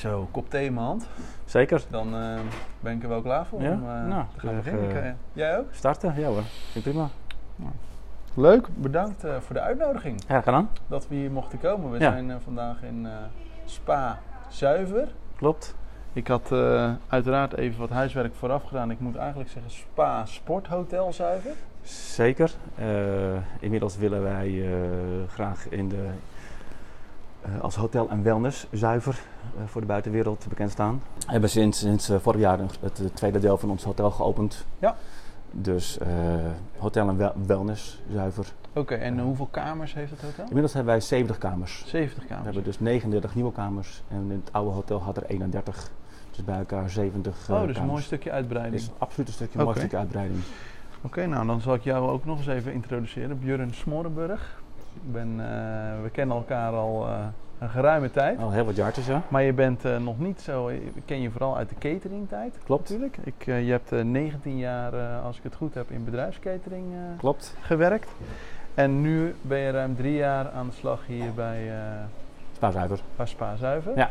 Zo, kop thee in mijn hand. Zeker. Dan eh, ben ik er wel klaar voor Ja? om eh, Nou, te gaan zeg, beginnen. eh, Kan je- Jij ook? Starten? Ja hoor. Vind ik prima. Leuk. Bedankt eh, voor de uitnodiging Ja, gaan aan. dat we hier mochten komen. We Ja. zijn eh, vandaag in eh, Spa Zuiver. Klopt. Ik had eh, uiteraard even wat huiswerk vooraf gedaan. Ik moet eigenlijk zeggen Spa Sporthotel Zuiver. Zeker. Eh, inmiddels willen wij eh, graag in de, eh, als hotel en wellness zuiver eh, voor de buitenwereld bekend staan. We hebben sinds, sinds eh, vorig jaar een- het eh, tweede deel van ons hotel geopend. Ja. Dus eh, hotel en wel- wellness zuiver. Oké, en eh, hoeveel kamers heeft het hotel? Inmiddels hebben wij 70 kamers. 70 We kamers. hebben dus 39 nieuwe kamers en het oude hotel had er 31. Dus bij elkaar 70 eh, oh, dus een mooi kamers. stukje Dat uitbreiding. is absoluut een stukje Oké. makkelijke uitbreiding. Oké, nou dan zal ik jou ook nog eens even introduceren. Björn Smorenburg. Ik ben, eh, we kennen elkaar al eh, een geruime tijd. Al heel wat jaartjes, ja. Maar je bent eh, nog niet zo, ik ken je vooral uit de cateringtijd Klopt. natuurlijk. Ik, eh, je hebt eh, 19 jaar, eh, als ik het goed heb, in bedrijfscatering eh, Klopt. gewerkt. En nu ben je ruim drie jaar aan de slag hier bij, eh Spaarzuiver. bij Spa Zuiver. Ja.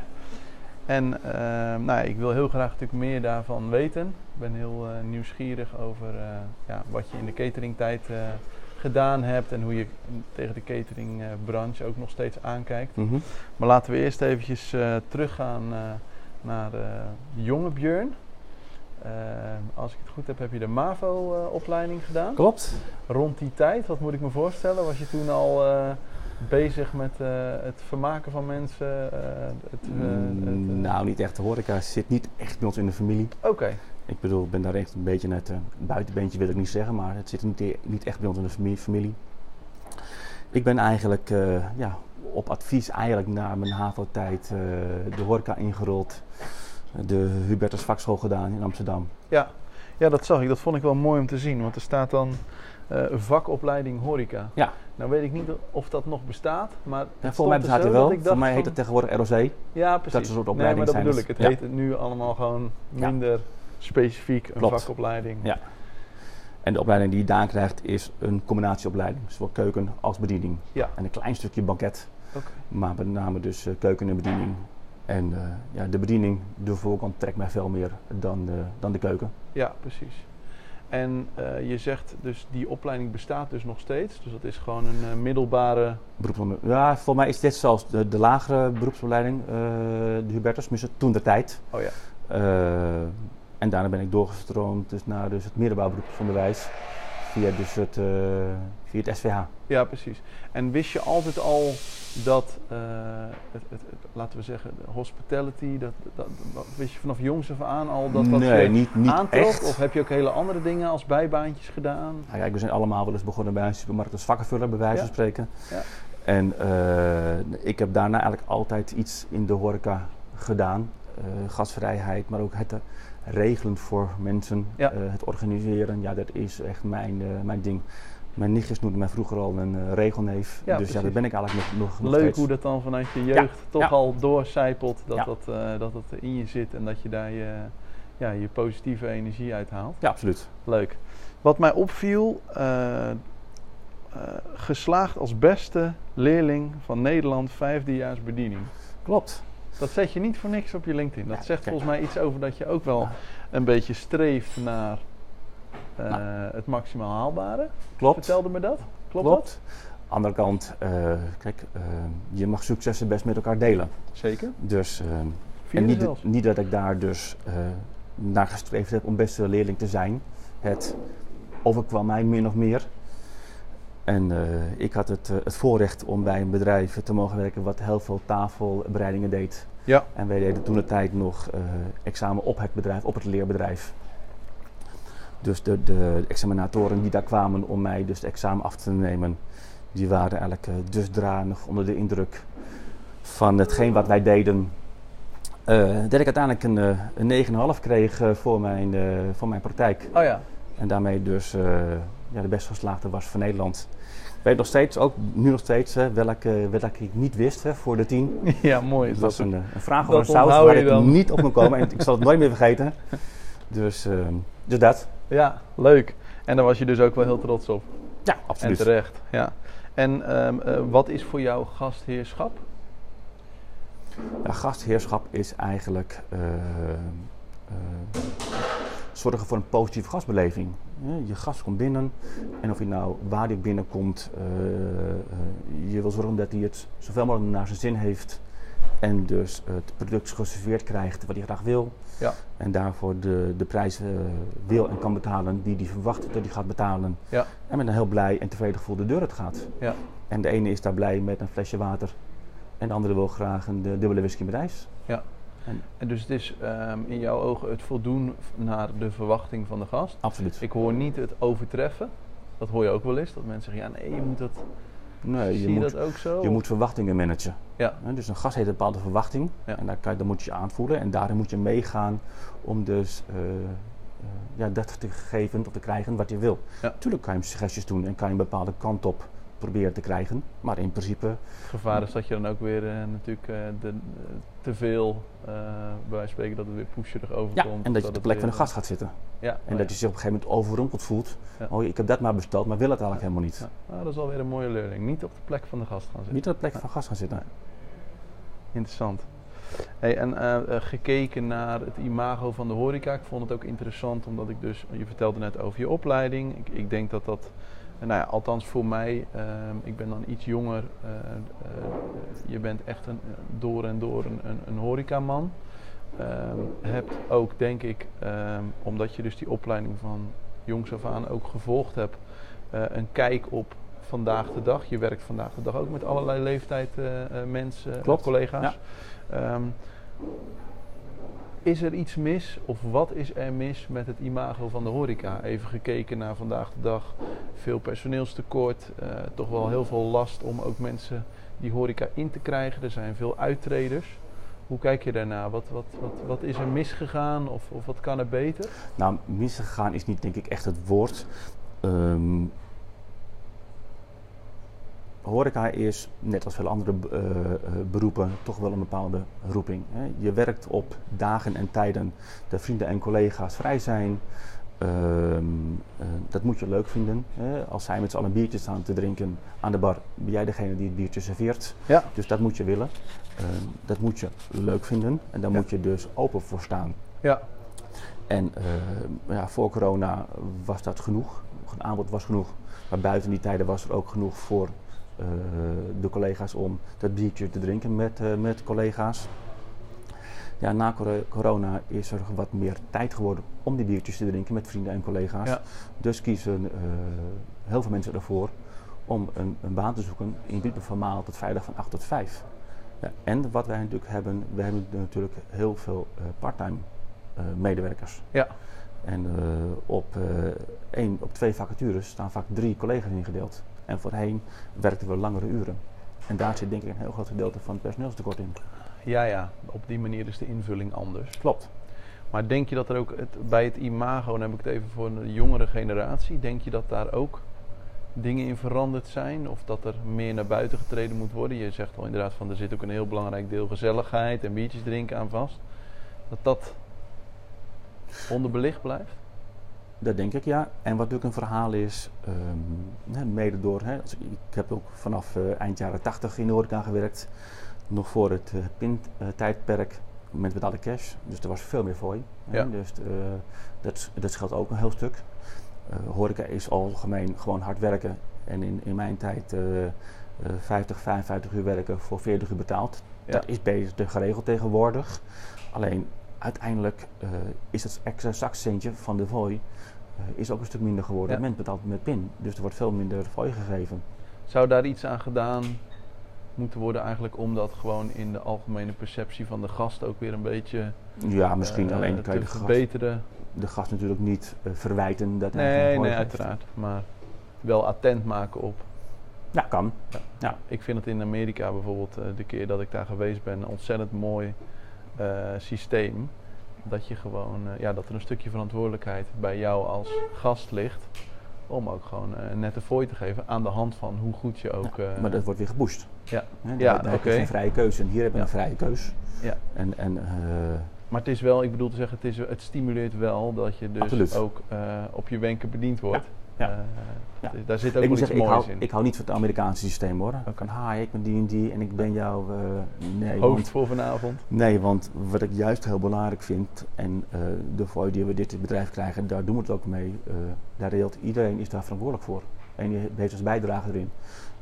En eh, nou, ja, ik wil heel graag natuurlijk meer daarvan weten. Ik ben heel eh, nieuwsgierig over eh, ja, wat je in de cateringtijd eh, gedaan hebt en hoe je tegen de cateringbranche ook nog steeds aankijkt. Maar laten we eerst eventjes eh, teruggaan eh, naar eh, jonge Björn. Eh, als ik het goed heb, heb je de MAVO-opleiding gedaan. Klopt. Rond die tijd, wat moet ik me voorstellen? Was je toen al eh, bezig met eh, het vermaken van mensen? eh, het, eh, het, eh, Mm, nou, niet echt. De horeca zit niet echt bij ons in de familie. Oké, Ik bedoel, ik ben daar echt een beetje net... eh buitenbeentje wil ik niet zeggen, maar het zit niet, e- niet echt bij ons in de fami- familie. Ik ben eigenlijk eh, ja, op advies eigenlijk na mijn HAVO-tijd eh, de horeca ingerold. De Hubertus Vakschool gedaan in Amsterdam. ja. ja, dat zag ik. Dat vond ik wel mooi om te zien, want er staat dan eh, vakopleiding horeca. Ja. Nou weet ik niet of dat nog bestaat, maar het Ja, stond volgens mij er bestaat zo het dat wel. ik Voor dacht mij heet van- het tegenwoordig ROC. Ja, precies. Dat is een soort Nee, maar opleiding dat zijn bedoel het. ik. Het Ja. heet nu allemaal gewoon Ja. minder specifiek een Klopt. vakopleiding. Ja. En de opleiding die je daar krijgt is een combinatieopleiding. Zowel keuken als bediening. Ja. En een klein stukje banket. Oké. Maar met name dus eh, keuken en bediening. En eh, ja, de bediening, de voorkant trekt mij veel meer dan de, dan de keuken. Ja, precies. En eh, je zegt dus die opleiding bestaat dus nog steeds. Dus dat is gewoon een eh, middelbare. Beroepsopleiding- Ja, voor mij is dit zelfs de, de lagere beroepsopleiding, eh, de Hubertus, tenminste toen de tijd. Oh ja. Eh, en daarna ben ik doorgestroomd dus naar dus het middelbaar beroepsonderwijs via, dus het, eh, via het SVH. Ja, precies. En wist je altijd al dat, eh, het, het, het- laten we zeggen, de hospitality, dat, dat, dat- wist je vanaf jongs af aan al dat dat nee, je niet, niet aantrok? echt. Of heb je ook hele andere dingen als bijbaantjes gedaan? Nou, kijk, we zijn allemaal wel eens begonnen bij een supermarkt als vakkenvuller, bij wijze Ja. van spreken. Ja. En eh, ik heb daarna eigenlijk altijd iets in de horeca gedaan. Eh gasvrijheid, maar ook het eh, regelen voor mensen, Ja. eh, het organiseren. Ja, dat is echt mijn, eh, mijn ding. Mijn nichtjes noemden mij vroeger al een eh, regelneef. Ja, dus ja, dat precies. ben ik eigenlijk nog, nog, nog Leuk steeds. hoe dat dan vanuit je jeugd toch ja. al doorcijpelt. Dat, Ja. dat, eh, dat het in je zit en dat je daar je, ja, je positieve energie uit haalt. Ja, absoluut. Leuk. Wat mij opviel, eh, eh, geslaagd als beste leerling van Nederland vijfdejaars bediening. Klopt. Dat zet je niet voor niks op je LinkedIn. Dat Ja, zegt kijk. volgens mij iets over dat je ook wel Ja. een beetje streeft naar eh, Nou. het maximaal haalbare. Klopt. Vertelde me dat? Klopt, dat? Andere kant, eh, kijk, eh, je mag successen best met elkaar delen. Zeker. Dus eh, Vierde En niet, zelfs. niet dat ik daar dus eh, naar gestreefd heb om beste leerling te zijn. Het overkwam mij min of meer. En eh, ik had het, eh, het voorrecht om bij een bedrijf te mogen werken wat heel veel tafelbereidingen deed. Ja. En wij deden toen de tijd nog eh, examen op het bedrijf, op het leerbedrijf. Dus de, de examinatoren die daar kwamen om mij dus het examen af te nemen, die waren eigenlijk eh, dusdanig onder de indruk van hetgeen wat wij deden. eh, dat ik uiteindelijk een, eh, een 9,5 kreeg eh, voor, mijn, eh, voor mijn praktijk. Oh ja, En daarmee dus eh, ja, de best geslaagde was van Nederland. Ik weet nog steeds, ook nu nog steeds, hè, welke, welke ik niet wist hè, voor de 10. ja mooi. Het Is was dat een, eh, een vraag dat over een saus onthoud waar je ik dan. niet op kon komen. En ik zal het nooit meer vergeten. Dus, ehm, dus dat. Ja, leuk. En daar was je dus ook wel heel trots op. Ja, En absoluut. terecht, ja. En ehm, eh, wat is voor jou gastheerschap? Ja, gastheerschap is eigenlijk eh, eh, zorgen voor een positieve gastbeleving. Ja, Je gast komt binnen en of hij nou waar hij binnenkomt, eh, eh, je wil zorgen dat hij het zoveel mogelijk naar zijn zin heeft. En dus het product geserveerd krijgt wat hij graag wil. Ja. En daarvoor de, de prijs eh, wil en kan betalen die hij verwacht dat hij gaat betalen. Ja. En met een heel blij en tevreden gevoel de deur uit gaat. Ja. En de ene is daar blij met een flesje water. En de andere wil graag een eh, dubbele whisky met ijs. En dus het is ehm, in jouw ogen het voldoen f- naar de verwachting van de gast. Absoluut. Ik hoor niet het overtreffen. Dat hoor je ook wel eens. Dat mensen zeggen, ja nee, je moet dat, nee, zie je je moet, dat Oh. ook zo? je moet verwachtingen managen. Ja. Hè, Dus een gast heeft een bepaalde verwachting. Ja. En daar, kan, daar moet je je aanvoelen. En daarin moet je meegaan om dus eh, eh, ja, dat te geven of te krijgen wat je wil. Ja. Tuurlijk kan je hem suggesties doen en kan je een bepaalde kant op proberen te krijgen. Maar in principe Het gevaar is dat je dan ook weer eh, natuurlijk eh, de, eh, te veel, eh, bij wijze van spreken, dat het weer pusherig Ja, overkomt. en dat je het op de plek weer, van een gast gaat zitten. eh, Ja, En dat je zich op een gegeven moment overrompeld voelt. Ja. Oh, ik heb dat maar besteld, maar wil het eigenlijk helemaal niet. Ja. Nou, dat is alweer een mooie learning. Niet op de plek van de gast gaan zitten. Niet op de plek van een gast gaan zitten. Interessant. Hey, en eh, eh, gekeken naar het imago van de horeca. Ik vond het ook interessant omdat ik dus... Je vertelde net over je opleiding. Ik, ik denk dat dat... eh, Nou ja, althans voor mij, ehm, ik ben dan iets jonger. eh, eh, je bent echt een, eh, door en door een, een, een horecaman. Ehm hebt ook, denk ik, ehm, omdat je dus die opleiding van jongs af aan ook gevolgd hebt... eh, een kijk op vandaag de dag. Je werkt vandaag de dag ook met allerlei leeftijd eh, eh, mensen, eh, Klopt, collega's. ja. Ehm, is er iets mis of wat is er mis met het imago van de horeca? Even gekeken naar vandaag de dag, veel personeelstekort, eh, toch wel heel veel last om ook mensen die horeca in te krijgen. Er zijn veel uittreders. Hoe kijk je daarnaar? Wat, wat, wat, wat is er misgegaan of, of wat kan er beter? Nou, misgegaan is niet denk ik echt het woord. Ehm horeca is, net als veel andere eh, eh, beroepen, toch wel een bepaalde roeping. Hè. Je werkt op dagen en tijden dat vrienden en collega's vrij zijn. Ehm, eh, dat moet je leuk vinden. Hè. Als zij met z'n allen biertjes staan te drinken aan de bar, ben jij degene die het biertje serveert. Ja. Dus dat moet je willen. Ehm, dat moet je leuk vinden en daar Ja. moet je dus open voor staan. Ja, En eh, ja, voor corona was dat genoeg. Het aanbod was genoeg. Maar buiten die tijden was er ook genoeg voor eh, de collega's om dat biertje te drinken met, eh, met collega's. Ja, na cor- corona is er wat meer tijd geworden om die biertjes te drinken met vrienden en collega's. Ja. Dus kiezen eh, heel veel mensen ervoor om een, een baan te zoeken in diepe formaal tot vrijdag van 8 tot 5. Ja, en wat wij natuurlijk hebben, we hebben natuurlijk heel veel eh part-time eh, medewerkers. Ja. En eh, op, eh, één, op twee vacatures staan vaak drie collega's ingedeeld. En voorheen werkten we langere uren. En daar zit denk ik een heel groot gedeelte van het personeelstekort in. ja, ja. Op die manier is de invulling anders. Klopt. Maar denk je dat er ook het, bij het imago, dan heb ik het even voor een jongere generatie, denk je dat daar ook dingen in veranderd zijn? Of dat er meer naar buiten getreden moet worden? Je zegt al inderdaad van er zit ook een heel belangrijk deel gezelligheid en biertjes drinken aan vast. Dat dat onderbelicht blijft? Dat denk ik ja. En wat natuurlijk een verhaal is, ehm, hè, mede door. Hè, als ik, ik heb ook vanaf eh, eind jaren 80 in de horeca gewerkt. Nog voor het eh PIN-tijdperk met betaalde cash. Dus er was veel meer voor je. Ja. Dus eh, dat, dat scheelt ook een heel stuk. Eh, horeca is algemeen gewoon hard werken. En in, in mijn tijd eh, eh, 50, 55 uur werken voor 40 uur betaald. Ja. Dat is beter geregeld tegenwoordig. Alleen uiteindelijk eh, is het extra zakcentje van de VOI eh, is ook een stuk minder geworden. Ja. Men betaalt met PIN, dus er wordt veel minder VOI gegeven. Zou daar iets aan gedaan moeten worden eigenlijk om dat gewoon in de algemene perceptie van de gast ook weer een beetje Ja, misschien eh, alleen kan je te de gast, verbeteren? de gast natuurlijk niet eh, verwijten dat hij geen Nee, VOI nee, heeft. uiteraard. Maar wel attent maken op Ja, kan. Ik vind het in Amerika bijvoorbeeld, eh, de keer dat ik daar geweest ben, een ontzettend mooi eh, systeem. Dat je gewoon, eh, ja, dat er een stukje verantwoordelijkheid bij jou als gast ligt. Om ook gewoon eh, een nette fooi te geven aan de hand van hoe goed je ook. eh, maar dat wordt weer geboost. Ja. Hè, Ja, daar heb je oké. geen vrije keuze. En hier heb je Ja. een vrije keus. Ja. En, en eh, maar het is wel, ik bedoel te zeggen, het, is, het stimuleert wel dat je dus Absoluut. ook eh, op je wenken bediend wordt. Ja. Eh, Ja. d- Daar zit ook ik wel moet iets zeggen, ik moois hou, in. ik hou niet van het Amerikaanse systeem hoor. Oké. Van, hi, ik ben die en die en ik ben jouw... eh, nee, want- Hoofd voor vanavond. Nee, want wat ik juist heel belangrijk vind, en eh, de fooi die we dit bedrijf krijgen, daar doen we het ook mee. eh, daar deelt iedereen is daar verantwoordelijk voor. En die heeft als bijdrage erin.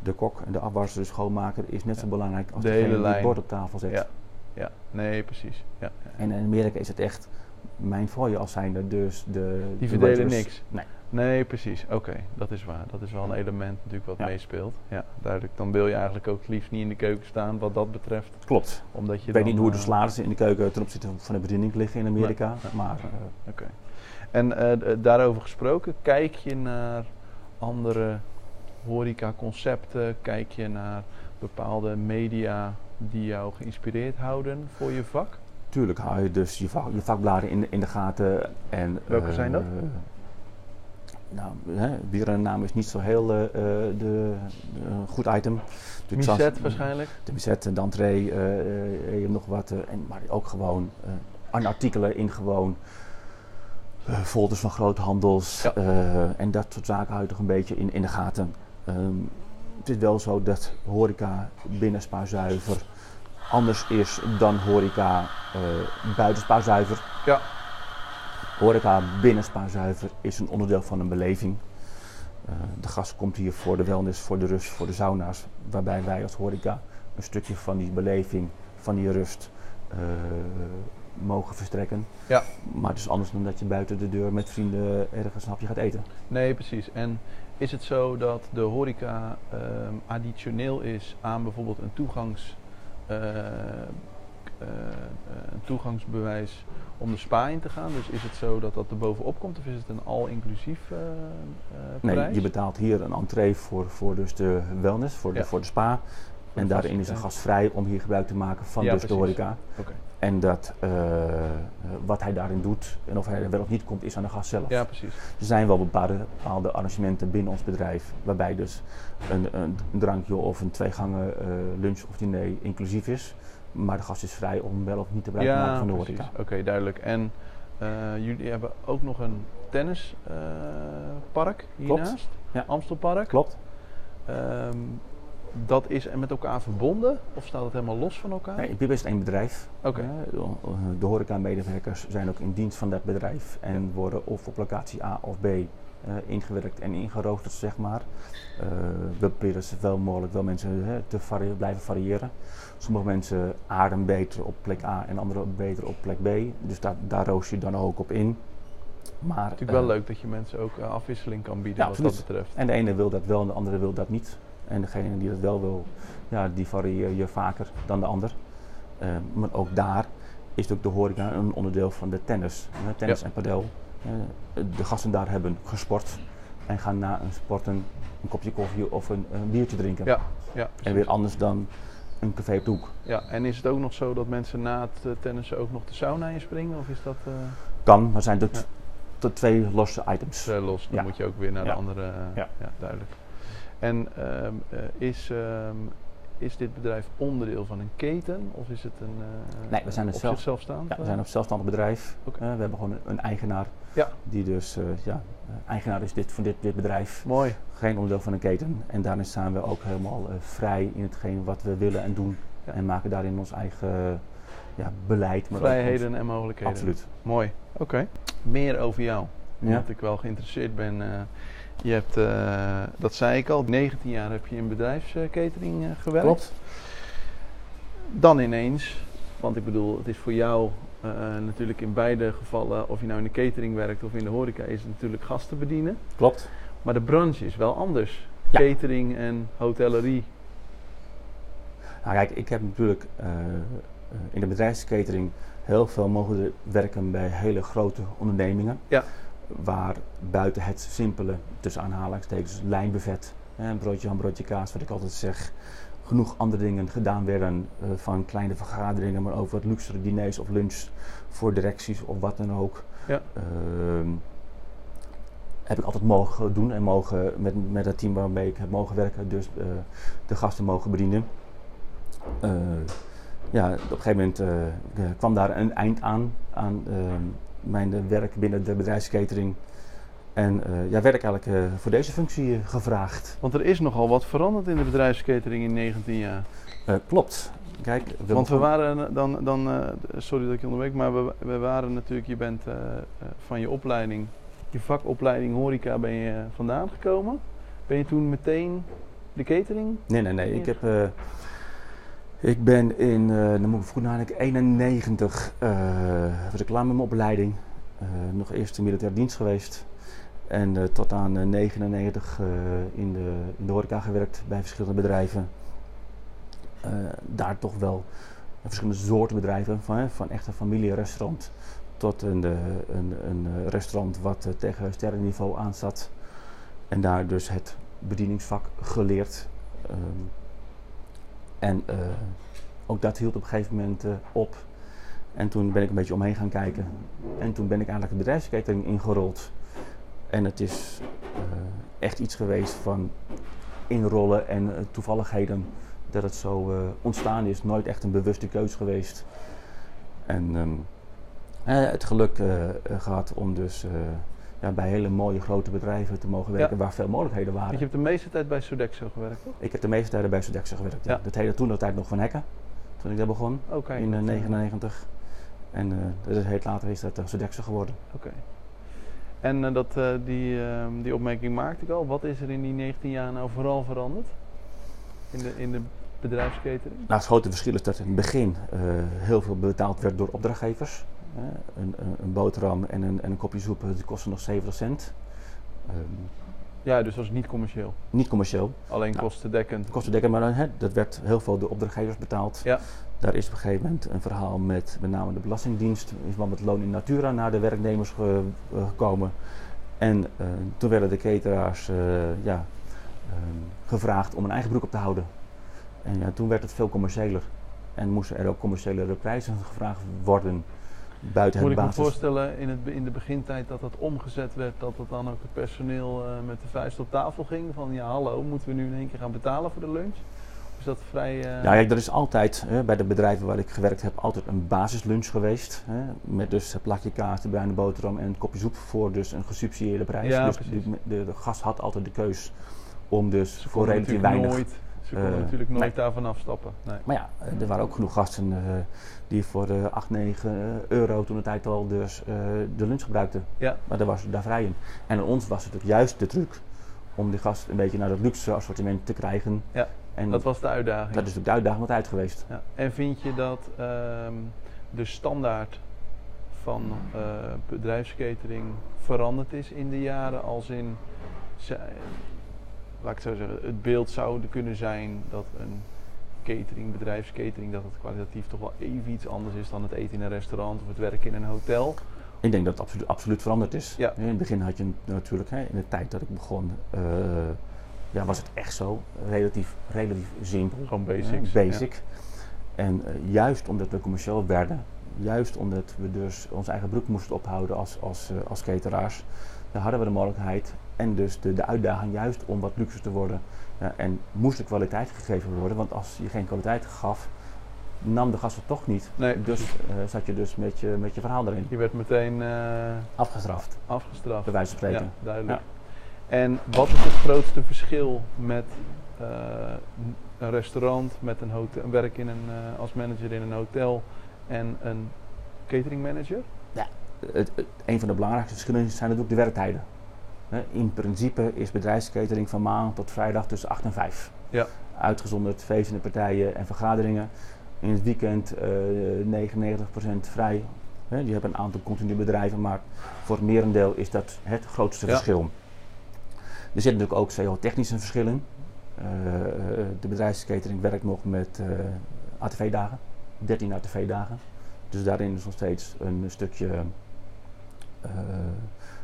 De kok en de afwasser, de schoonmaker is net zo Ja. belangrijk als De degene hele die het lijn. bord op tafel zet. Ja. ja, nee, precies. Ja. En in Amerika is het echt mijn fooi als zijnde. Dus de, Die de verdelen waitress- niks. Nee. Nee, precies. Oké, dat is waar. Dat is wel een element natuurlijk wat Ja. meespeelt. Ja, duidelijk. Dan wil je eigenlijk ook het liefst niet in de keuken staan wat dat betreft. Klopt. Omdat je eh, Ik weet niet hoe de slaat. salarissen in de keuken ten opzichte van de bediening liggen in Amerika. Nee. Maar eh, En eh, d- eh, daarover gesproken, kijk je naar andere horecaconcepten? Kijk je naar bepaalde media die jou geïnspireerd houden voor je vak? Tuurlijk hou je dus je, vak, je vakbladen in, de- in de gaten. En, Welke eh, zijn dat? Nou, hè, bier en naam is niet zo heel eh, eh, de, de- goed item. De Misset waarschijnlijk? De misette, de entree, eh, eh, je hebt nog wat. eh, en, maar ook gewoon eh, aan artikelen in gewoon eh, folders van groothandels. Ja. eh, en dat soort zaken hou je toch een beetje in, in de gaten. Ehm, het is wel zo dat horeca binnen Spaarzuiver anders is dan horeca eh buiten Spaarzuiver. Ja. Horeca binnen Spaarzuiver is een onderdeel van een beleving. Eh, de gast komt hier voor de wellness, voor de rust, voor de sauna's. Waarbij wij als horeca een stukje van die beleving, van die rust eh, mogen verstrekken. Ja. Maar het is anders dan dat je buiten de deur met vrienden ergens een hapje gaat eten. Nee, precies. En is het zo dat de horeca ehm, additioneel is aan bijvoorbeeld een, toegangs, eh, eh, een toegangsbewijs om de spa in te gaan? Dus is het zo dat dat er bovenop komt of is het een al-inclusief eh eh, Nee, prijs? je betaalt hier een entree voor, voor dus de wellness, voor de, Ja. voor de spa. de en daarin is een faciliteit. gast vrij om hier gebruik te maken van Ja, dus de precies. horeca. Oké. En dat eh, eh, wat hij daarin doet en of hij er wel of niet komt, is aan de gast zelf. Ja, precies. Er zijn wel bepaalde, bepaalde arrangementen binnen ons bedrijf, waarbij dus een, een drankje of een tweegangen eh lunch of diner inclusief is. Maar de gast is vrij om wel of niet te gebruik te maken van de precies. horeca. Oké, duidelijk. En eh, jullie hebben ook nog een tennispark hiernaast, Ja. Amstelpark. Klopt? Ehm, dat is met elkaar verbonden of staat het helemaal los van elkaar? Nee, Biba is het één bedrijf. Oké. Eh, de horeca-medewerkers zijn ook in dienst van dat bedrijf en worden of op locatie A of B eh, ingewerkt en ingeroosterd, zeg maar. Eh, we proberen zoveel mogelijk wel mensen hè, te varie- blijven variëren. Sommige mensen aarden beter op plek A en andere beter op plek B. Dus daar, daar roost je dan ook op in. Maar, Natuurlijk wel eh, leuk dat je mensen ook eh, afwisseling kan bieden Ja, wat dat absoluut. betreft. En de ene wil dat wel en de andere wil dat niet. En degene die dat wel wil, ja, die varieer je vaker dan de ander. Eh, maar ook daar is ook de horeca een onderdeel van de tennis. hè, tennis Ja. en padel. Eh, de gasten daar hebben gesport en gaan na een sporten een kopje koffie of een, een biertje drinken. Ja, ja, precies. En weer anders dan een café op de hoek. ja, en is het ook nog zo dat mensen na het eh, tennissen ook nog de sauna in springen? Of is dat eh, Kan, maar zijn dat Ja. tot twee losse items. vrij los? Dan Ja. moet je ook weer naar Ja. de andere. eh, Ja. ja. duidelijk. En ehm, eh, is, ehm, is dit bedrijf onderdeel van een keten? Of is het een. eh, Nee, we zijn op het zelf. zichzelf staand? Ja, we zijn een zelfstandig bedrijf. Oké. Eh, we hebben gewoon een, een eigenaar. Ja. Die dus, eh, ja, eh, eigenaar is dit, van dit, dit bedrijf. Mooi. Geen onderdeel van een keten. En daarin staan we ook helemaal eh, vrij in hetgeen wat we willen en doen. Ja. En maken daarin ons eigen eh, ja, beleid. Maar ook ons- Vrijheden en mogelijkheden. Absoluut. Mooi. Oké. Meer over jou. Ja. Omdat ik wel geïnteresseerd ben. eh, je hebt, eh, dat zei ik al, 19 jaar heb je in bedrijfskatering eh, gewerkt. Klopt. Dan ineens, want ik bedoel, het is voor jou eh, natuurlijk in beide gevallen, of je nou in de catering werkt of in de horeca, is het natuurlijk gasten bedienen. Klopt. Maar de branche is wel anders. Ja. Catering en hotellerie. Nou, kijk, ik heb natuurlijk eh, eh, in de bedrijfskatering heel veel mogen werken bij hele grote ondernemingen. Ja. Waar buiten het simpele, tussen aanhalingstekens, lijnbuffet, hè, een broodje ham, broodje kaas, wat ik altijd zeg, genoeg andere dingen gedaan werden. eh, van kleine vergaderingen, maar over wat luxere diners of lunch voor directies of wat dan ook. Ja. Ehm, heb ik altijd mogen doen en mogen met, met het team waarmee ik heb mogen werken, dus eh, de gasten mogen bedienen. Eh, ja, op een gegeven moment eh, eh, kwam daar een eind aan, aan ehm, mijn eh, werk binnen de bedrijfskatering. En eh, ja, werd ik eigenlijk eh, voor deze functie eh, gevraagd. Want er is nogal wat veranderd in de bedrijfskatering in 19 jaar. Eh, klopt. Kijk, Willem Want we van- waren dan, dan eh, sorry dat ik je onderbreek, maar we, we waren natuurlijk, je bent eh, eh, van je opleiding, je vakopleiding horeca ben je eh, vandaan gekomen. Ben je toen meteen de catering? Nee, nee, nee. Ik, Ja. heb, eh, ik ben in, eh dan moet ik vroeg nadenken, 91 eh, was ik klaar met mijn opleiding. Eh, nog eerst in militaire dienst geweest. En eh, tot aan eh, 99 eh, in, de, in de horeca gewerkt bij verschillende bedrijven. Eh, daar toch wel verschillende soorten bedrijven. Van, hè, van echt een familierestaurant tot een, eh, een, een eh, restaurant wat eh, tegen sterrenniveau aan zat. En daar dus het bedieningsvak geleerd. Ehm, en eh, ook dat hield op een gegeven moment eh, op. En toen ben ik een beetje omheen gaan kijken. En toen ben ik eigenlijk de bedrijfskatering ingerold. En het is eh, echt iets geweest van inrollen en eh, toevalligheden. Dat het zo eh, ontstaan is. Nooit echt een bewuste keus geweest. En ehm, eh, het geluk eh, eh, gehad om dus eh, ja, bij hele mooie grote bedrijven te mogen werken. Waar veel mogelijkheden waren. Want je hebt de meeste tijd bij Sodexo gewerkt, toch? Ik heb de meeste tijden bij Sodexo gewerkt. Ja. Ja. Dat heette toen de tijd nog Van Hekken, toen ik daar begon Oké. in eh, 99. En eh dat heet later is dat eh, Sodexo geworden. Oké. En eh, dat, eh, die, ehm, die opmerking maakte ik al. Wat is er in die 19 jaar nou vooral veranderd? In de, in de bedrijfskatering? Nou, het grote verschil is dat in het begin eh, heel veel betaald werd door opdrachtgevers. hè. een, een, een boterham en een, en een kopje soep eh, die kosten nog 70 cent. Ehm, Ja, dus dat is niet commercieel. niet commercieel. Alleen Nou, kostendekkend. kostendekker, maar dan, hè, dat werd heel veel door opdrachtgevers betaald. Ja. Daar is op een gegeven moment een verhaal met met name de Belastingdienst, in verband met loon in natura, naar de werknemers ge- eh, gekomen. En eh, toen werden de cateraars eh, ja, ehm, gevraagd om een eigen broek op te houden. En ja, toen werd het veel commerciëler. En moesten er ook commerciëlere prijzen gevraagd worden buiten Moet het ik me basis. voorstellen in, het, be- in de begintijd dat dat omgezet werd, dat dat dan ook het personeel eh, met de vuist op tafel ging? Van ja, hallo, moeten we nu in één keer gaan betalen voor de lunch? Of Is dat vrij. eh, Nou Ja, kijk, er is altijd hè, bij de bedrijven waar ik gewerkt heb altijd een basislunch geweest. Hè, met dus een plakje kaas, de bruine boterham en een kopje soep voor dus een gesubsidieerde prijs. Ja, dus precies. de, de, de gast had altijd de keus om dus ze voor konden relatief natuurlijk weinig. Nooit, ze konden eh, natuurlijk nooit nee. daarvan afstappen. Nee. Maar ja, eh, er waren ook genoeg gasten eh, die voor eh 8, 9 eh, euro toen de tijd al dus eh, de lunch gebruikten. Ja. Maar daar was daar vrij in. En aan ons was het ook juist de truc om die gast een beetje naar het luxe assortiment te krijgen. Ja, en Dat was de uitdaging. dat is natuurlijk de uitdaging wat uit geweest. Ja. En vind je dat ehm, de standaard van eh, bedrijfskatering veranderd is in de jaren? Als in, ze- laat ik het zo zeggen, het beeld zou er kunnen zijn dat een catering, bedrijfskatering, dat het kwalitatief toch wel even iets anders is dan het eten in een restaurant of het werken in een hotel. Ik denk dat het absolu- absoluut veranderd is. Ja. In het begin had je natuurlijk, hè, in de tijd dat ik begon, eh, ja, was het echt zo relatief, relatief simpel. Gewoon hè, basics. basic. En eh, juist omdat we commercieel werden, juist omdat we dus onze eigen broek moesten ophouden als, als, eh, als cateraars, dan hadden we de mogelijkheid en dus de, de uitdaging juist om wat luxer te worden. Ja, en moest de kwaliteit gegeven worden, want als je geen kwaliteit gaf, nam de gast het toch niet. Ja. Nee, Dus eh, zat je dus met je, met je verhaal erin. je werd meteen eh, Afgestraft afgestraft. bij wijze van spreken. Ja, duidelijk. En wat is het grootste verschil met eh, een restaurant, met een, hotel, een werk in een, eh, als manager in een hotel en een catering manager? Het, het- een van de belangrijkste verschillen zijn natuurlijk de werktijden. Hè, In principe is bedrijfskatering van maandag tot vrijdag tussen 8 en 5. Ja. Uitgezonderd feesten, en partijen en vergaderingen. In het weekend eh 99% vrij. Hè, Je hebt een aantal continue bedrijven, maar voor het merendeel is dat het grootste Ja. verschil. Er zit natuurlijk ook CO-technisch een verschil in. Eh, de bedrijfskatering werkt nog met eh, ATV-dagen, 13 ATV-dagen. Dus daarin is nog steeds een stukje eh,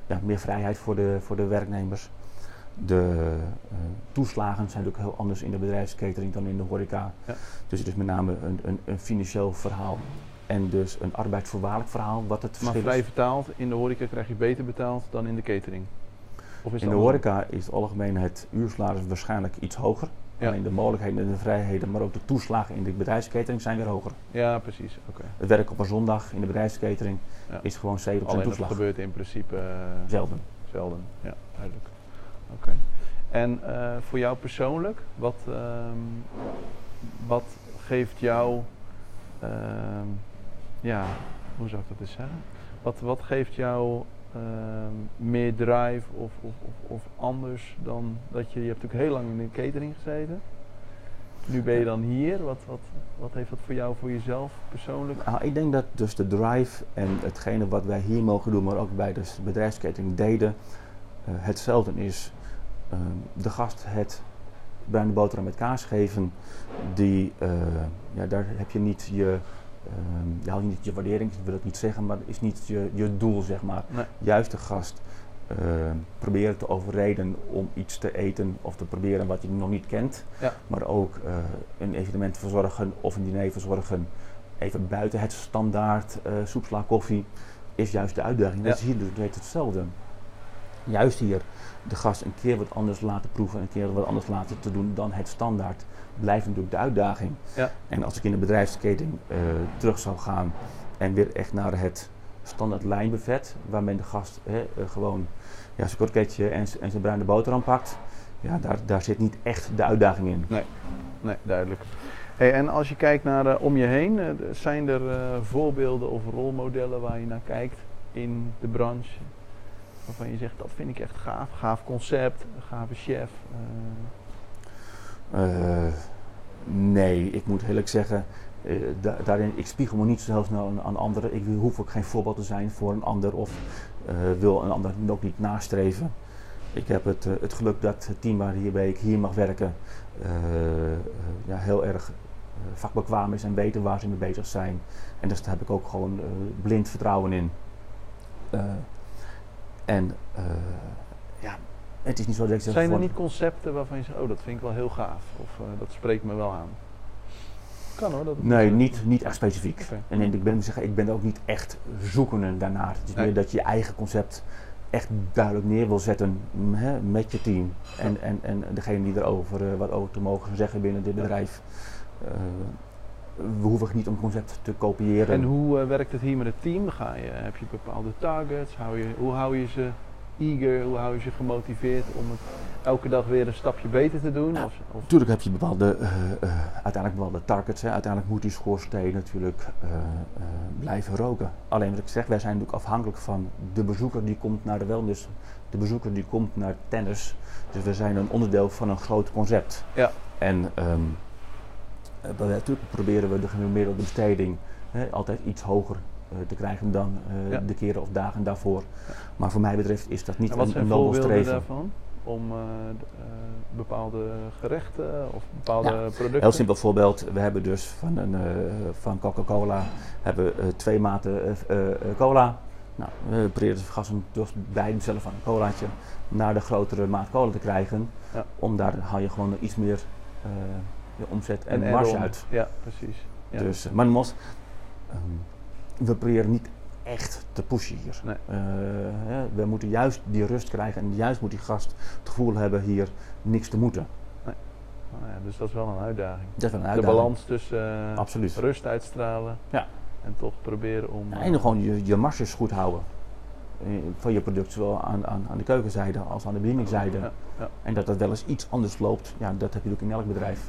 ja, meer vrijheid voor de, voor de werknemers. De eh, toeslagen zijn natuurlijk heel anders in de bedrijfskatering dan in de horeca. Ja. Dus het is met name een, een, een financieel verhaal en dus een arbeidsvoorwaardelijk verhaal wat het Maar verschil vrij is. vertaald, in de horeca krijg je beter betaald dan in de catering. Of is In dat de andersom? horeca is het algemeen het uursalaris waarschijnlijk iets hoger. Ja. Alleen de mogelijkheden en de vrijheden, maar ook de toeslagen in de bedrijfskatering zijn weer hoger. Ja, precies. Oké. Het werk op een zondag in de bedrijfskatering Ja. is gewoon 70% Alleen dat toeslag. gebeurt in principe eh, Zelden. Velden, ja, duidelijk. Oké. En eh, voor jou persoonlijk, wat, ehm, wat geeft jou, ehm, ja, hoe zou ik dat eens zeggen? Wat, wat geeft jou ehm, meer drive of, of, of, of anders dan dat je, je hebt natuurlijk heel lang in de catering gezeten. Nu ben je dan hier, wat, wat, wat heeft dat voor jou, voor jezelf persoonlijk? Nou, ik denk dat dus de drive en hetgene wat wij hier mogen doen, maar ook bij de s- bedrijfsketting deden, eh, hetzelfde is. eh, de gast het bruine boterham met kaas geven, die, eh, ja, daar heb je niet je, eh, ja, niet je waardering, ik wil dat niet zeggen, maar is niet je, je doel, zeg maar. Nee. Juist de gast eh, proberen te overreden om iets te eten of te proberen wat hij nog niet kent. Ja. Maar ook eh, een evenement verzorgen of een diner verzorgen, even buiten het standaard eh soepsla koffie, is juist de uitdaging. Dat Ja. is hier dus weet hetzelfde. Juist hier de gast een keer wat anders laten proeven en een keer wat anders laten te doen dan het standaard, blijft natuurlijk de uitdaging. Ja. En als ik in de bedrijfsketting eh, terug zou gaan en weer echt naar het standaard lijnbuffet, waar men de gast hè, eh, gewoon ja, zijn kroketje en, z- en zijn bruine boterham pakt, ja, daar, daar zit niet echt de uitdaging in. Nee, duidelijk. Hey, en als je kijkt naar eh, om je heen, eh, d- zijn er eh, voorbeelden of rolmodellen waar je naar kijkt in de branche? Waarvan je zegt, dat vind ik echt gaaf. Gaaf concept, een gave chef. eh, Eh, nee, ik moet eerlijk zeggen, eh, da- daarin, ik spiegel me niet zo heel snel aan, aan anderen. Ik hoef ook geen voorbeeld te zijn voor een ander of eh, wil een ander ook niet nastreven. Ik heb het, eh, het geluk dat het team waar hierbij ik hier mag werken eh, eh, ja, heel erg eh, vakbekwaam is en weten waar ze mee bezig zijn. En dus daar heb ik ook gewoon eh, blind vertrouwen in. Eh, en eh, ja, het is niet zo dat ik zeg zijn er van- niet concepten waarvan je zegt, oh dat vind ik wel heel gaaf. Of eh, dat spreekt me wel aan. Kan hoor. Dat Nee, niet, niet echt specifiek. Oké. En ik ben, zeggen, ik ben ook niet echt zoekende daarnaar. Het is Nee. meer dat je je eigen concept echt duidelijk neer wil zetten mm, hè, met je team. En, en, en degene die erover eh, wat over te mogen zeggen binnen dit Ja. bedrijf. Eh, we hoeven niet om concept te kopiëren. En hoe eh, werkt het hier met het team? Ga je, heb je bepaalde targets? Hou je, hoe hou je ze eager? Hoe hou je ze gemotiveerd om het elke dag weer een stapje beter te doen? Nou, Of, of, Natuurlijk heb je bepaalde, eh, eh, uiteindelijk bepaalde targets. Hè. Uiteindelijk moet die schoorsteen natuurlijk eh, eh, blijven roken. Alleen wat ik zeg, wij zijn natuurlijk afhankelijk van de bezoeker die komt naar de wellness, de bezoeker die komt naar tennis. Dus we zijn een onderdeel van een groot concept. Ja. En ehm, eh, we- natuurlijk proberen we de gemiddelde besteding hè, altijd iets hoger eh, te krijgen dan eh, Ja. de keren of dagen daarvoor. Maar voor mij betreft is dat niet En wat een, zijn een nobel voorbeelden streven. daarvan? Om eh, d- eh, bepaalde gerechten of bepaalde Ja, producten? Heel simpel voorbeeld, we hebben dus van, een, eh, van Coca-Cola hebben, we, eh, twee maten eh, eh, cola. Nou, we proberen de gasten dus bij zelf van een colaatje naar de grotere maat cola te krijgen. Ja. Om daar haal je gewoon iets meer eh, je omzet en, Een marge add-on. uit. Ja, precies. Ja. Dus, eh, maar mos, we proberen niet echt te pushen hier. Nee. Eh, hè, we moeten juist die rust krijgen en juist moet die gast het gevoel hebben hier niks te moeten. Nou ja, dus dat is wel een uitdaging. Dat is wel een De uitdaging. balans tussen eh, Absoluut. rust uitstralen Ja. en toch proberen om... Ja, eh, Nou, en gewoon je, je marges goed houden. eh, Van je product, zowel aan, aan, aan de keukenzijde als aan de bedieningszijde. Ja, ja. En dat dat wel eens iets anders loopt, ja, dat heb je natuurlijk in elk bedrijf.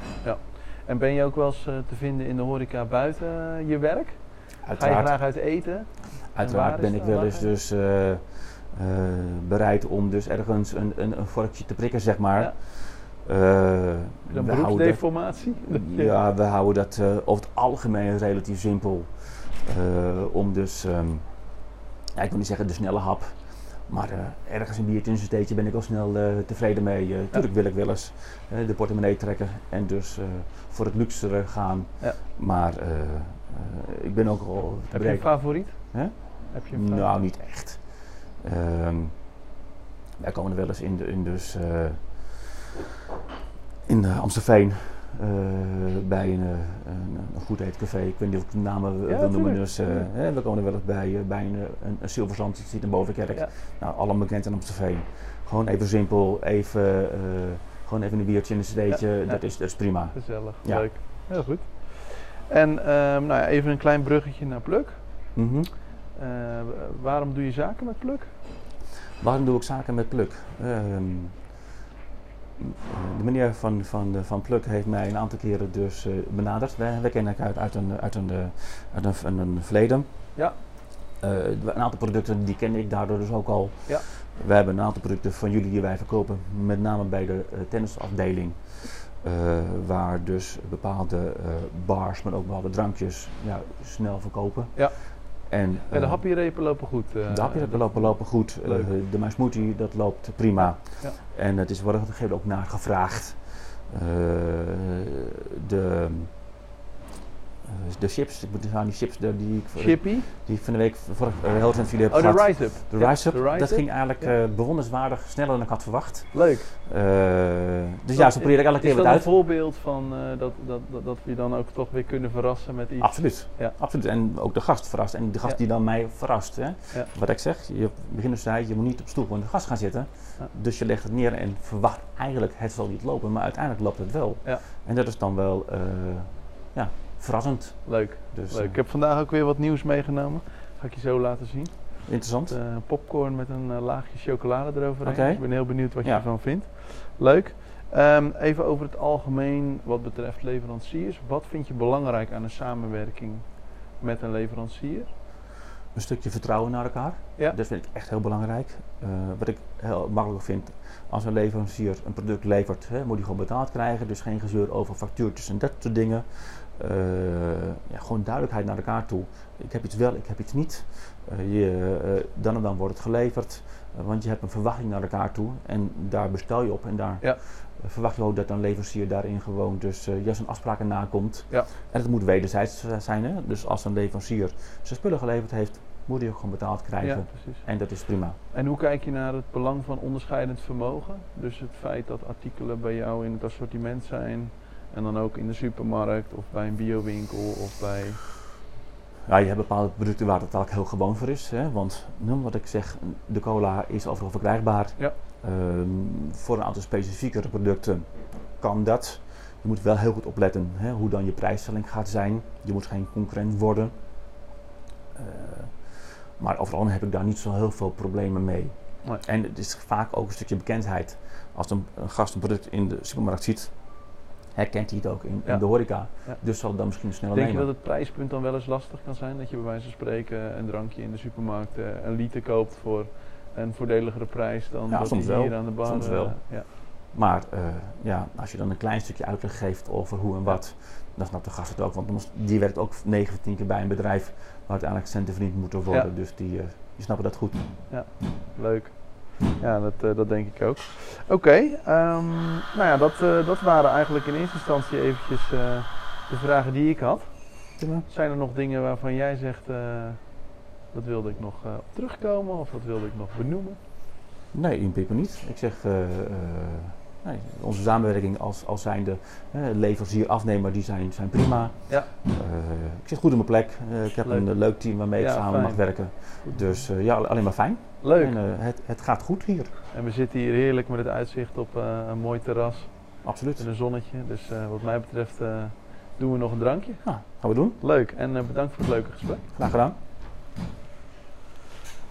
en ben je ook wel eens eh, te vinden in de horeca buiten eh, je werk? Ga je Uiteraard, graag uit eten? uiteraard is ben dat? ik wel eens Waar- dus, eh, eh, bereid om dus ergens een, een, een vorkje te prikken, zeg maar. Ja. Eh, Heb je Dan we houden dat- beroepsdeformatie? Ja, we houden dat eh, over het algemeen relatief simpel. eh, om dus, ehm, ja, ik wil niet zeggen de snelle hap. Maar eh, ergens een biertje en een steentje ben ik al snel eh, tevreden mee. Eh, tuurlijk wil ik wel eens eh, de portemonnee trekken en dus eh, voor het luxere gaan. Ja. Maar eh, eh, ik ben ook al te Heb je een breed. favoriet? Hè? Heb je een favoriet? Nou, niet echt. Ehm, wij komen er wel eens in, de, in dus eh, in eh, Amstelveen eh, bij een, eh, een, een goed eetcafé. Ik weet niet of ik de namen wil tuurlijk, noemen. Dus, eh, tuurlijk. hè, we komen er wel eens bij, eh, bij een, eh, een, een zilverzand die zit in Bovenkerk. Ja. Nou, allemaal bekend in Amstelveen. Gewoon even simpel, even, eh, gewoon even een biertje en een cd'tje. ja. Dat, is, dat is prima. Gezellig, Ja. leuk. Heel goed. En ehm, nou ja, even een klein bruggetje naar Pluk. Mhm. Eh, waarom doe je zaken met Pluk? Waarom doe ik zaken met Pluk? Ehm, de meneer van, van, eh, van Pluk heeft mij een aantal keren dus eh, benaderd. Wij, wij kennen elkaar uit, uit, een, uit, een, eh, uit een, een, een verleden. Ja. Eh, een aantal producten die ken ik daardoor dus ook al. Ja. Wij hebben een aantal producten van jullie die wij verkopen, met name bij de eh, tennisafdeling. eh, waar dus bepaalde eh, bars, maar ook bepaalde drankjes ja, snel verkopen. Ja. En, Ja, de eh, happy-repen lopen goed. eh, de hapjes hebben lopen, lopen goed. Leuk. Eh, de My Smoothie, dat loopt prima. Ja. En het is worden op een gegeven moment ook naar gevraagd. Eh, de, eh, de chips, ik moet dus aan die chips de- die ik, Chippy. die ik van de week vorig uh, heel veel video heb Oh, de gehad. Rise Up. De Ja, Rise Up, de Rise dat Up. ging eigenlijk Ja. eh, bewonderenswaardig sneller dan ik had verwacht. Leuk. Eh, dus Dat ja, zo probeer ik elke Is keer dat wat een uit. voorbeeld van eh, dat, dat, dat, dat we je dan ook toch weer kunnen verrassen met iets? Absoluut. Ja. Absoluut. En ook de gast verrast. En de gast Ja. die dan mij verrast. Hè? Ja. Wat ik zeg, je begint zei, je moet niet op stoel van de gast gaan zitten. Ja. Dus je legt het neer en verwacht eigenlijk, het zal niet lopen, maar uiteindelijk loopt het wel. Ja. En dat is dan wel eh, ja, verrassend. Leuk. Dus Leuk. eh, Ik heb vandaag ook weer wat nieuws meegenomen. Ga ik je zo laten zien. interessant. Eh, popcorn met een eh, laagje chocolade eroverheen. Oké. Dus ik ben heel benieuwd wat je Ja. ervan vindt. Leuk. Ehm, even over het algemeen wat betreft leveranciers. Wat vind je belangrijk aan een samenwerking met een leverancier? een stukje vertrouwen naar elkaar. Ja. Dat vind ik echt heel belangrijk. Eh, wat ik heel makkelijk vind, als een leverancier een product levert, hè, moet hij gewoon betaald krijgen. Dus geen gezeur over factuurtjes en dat soort dingen. Eh, ja, gewoon duidelijkheid naar elkaar toe. Ik heb iets wel, ik heb iets niet. Eh, je, eh, dan en dan wordt het geleverd. eh, want je hebt een verwachting naar elkaar toe. En daar bestel je op. En daar eh, Ja. verwacht je ook dat een leverancier daarin gewoon dus eh, ja, zijn afspraken nakomt. Ja. En het moet wederzijds eh, zijn. Hè? Dus als een leverancier zijn spullen geleverd heeft, moet hij ook gewoon betaald krijgen. Ja, precies. En dat is prima. En hoe kijk je naar het belang van onderscheidend vermogen? Dus het feit dat artikelen bij jou in het assortiment zijn en dan ook in de supermarkt of bij een biowinkel of bij. Ja, je hebt bepaalde producten waar dat eigenlijk heel gewoon voor is. Hè? Want nou, wat ik zeg, de cola is overal verkrijgbaar. Ja. Ehm, voor een aantal specifiekere producten kan dat. Je moet wel heel goed opletten hè, hoe dan je prijsstelling gaat zijn. Je moet geen concurrent worden. Eh, maar overal heb ik daar niet zo heel veel problemen mee. Nee. En het is vaak ook een stukje bekendheid. Als een, een gast een product in de supermarkt ziet, herkent hij het ook in, in Ja. de horeca. Ja. Dus zal het dan misschien sneller Denk je nemen. dat het prijspunt dan wel eens lastig kan zijn? Dat je bij wijze van spreken een drankje in de supermarkt eh, een liter koopt voor een voordeligere prijs dan Ja, dat soms die wel. hier aan de bar. Soms eh, wel. ja. Maar eh, ja, als je dan een klein stukje uitleg geeft over hoe en wat, dan snapt de gast het ook. Want anders- die werkt ook 9 of 10 keer bij een bedrijf waar uiteindelijk centen verdiend moeten worden. Dus die, eh, die snappen dat goed. Leuk. Ja, dat, eh, dat denk ik ook. Oké, ehm, nou ja, dat, eh, dat waren eigenlijk in eerste instantie eventjes eh, de vragen die ik had. Zijn er nog dingen waarvan jij zegt, eh, dat wilde ik nog eh, op terugkomen of dat wilde ik nog benoemen? Nee, in principe niet. Ik zeg, eh, eh, nee, onze samenwerking als, als zijnde eh, leverancier, afnemer, die zijn, zijn prima. Ja. Eh, ik zit goed op mijn plek. Eh, ik heb Leuk. een eh, leuk team waarmee ik Ja, samen fijn. mag werken. Dus eh, ja, alleen maar fijn. Leuk. En eh, het, het gaat goed hier. En we zitten hier heerlijk met het uitzicht op eh, een mooi terras Absoluut. en een zonnetje. Dus eh, wat mij betreft eh, doen we nog een drankje. Nou, gaan we doen. Leuk en eh, bedankt voor het leuke gesprek. Graag gedaan.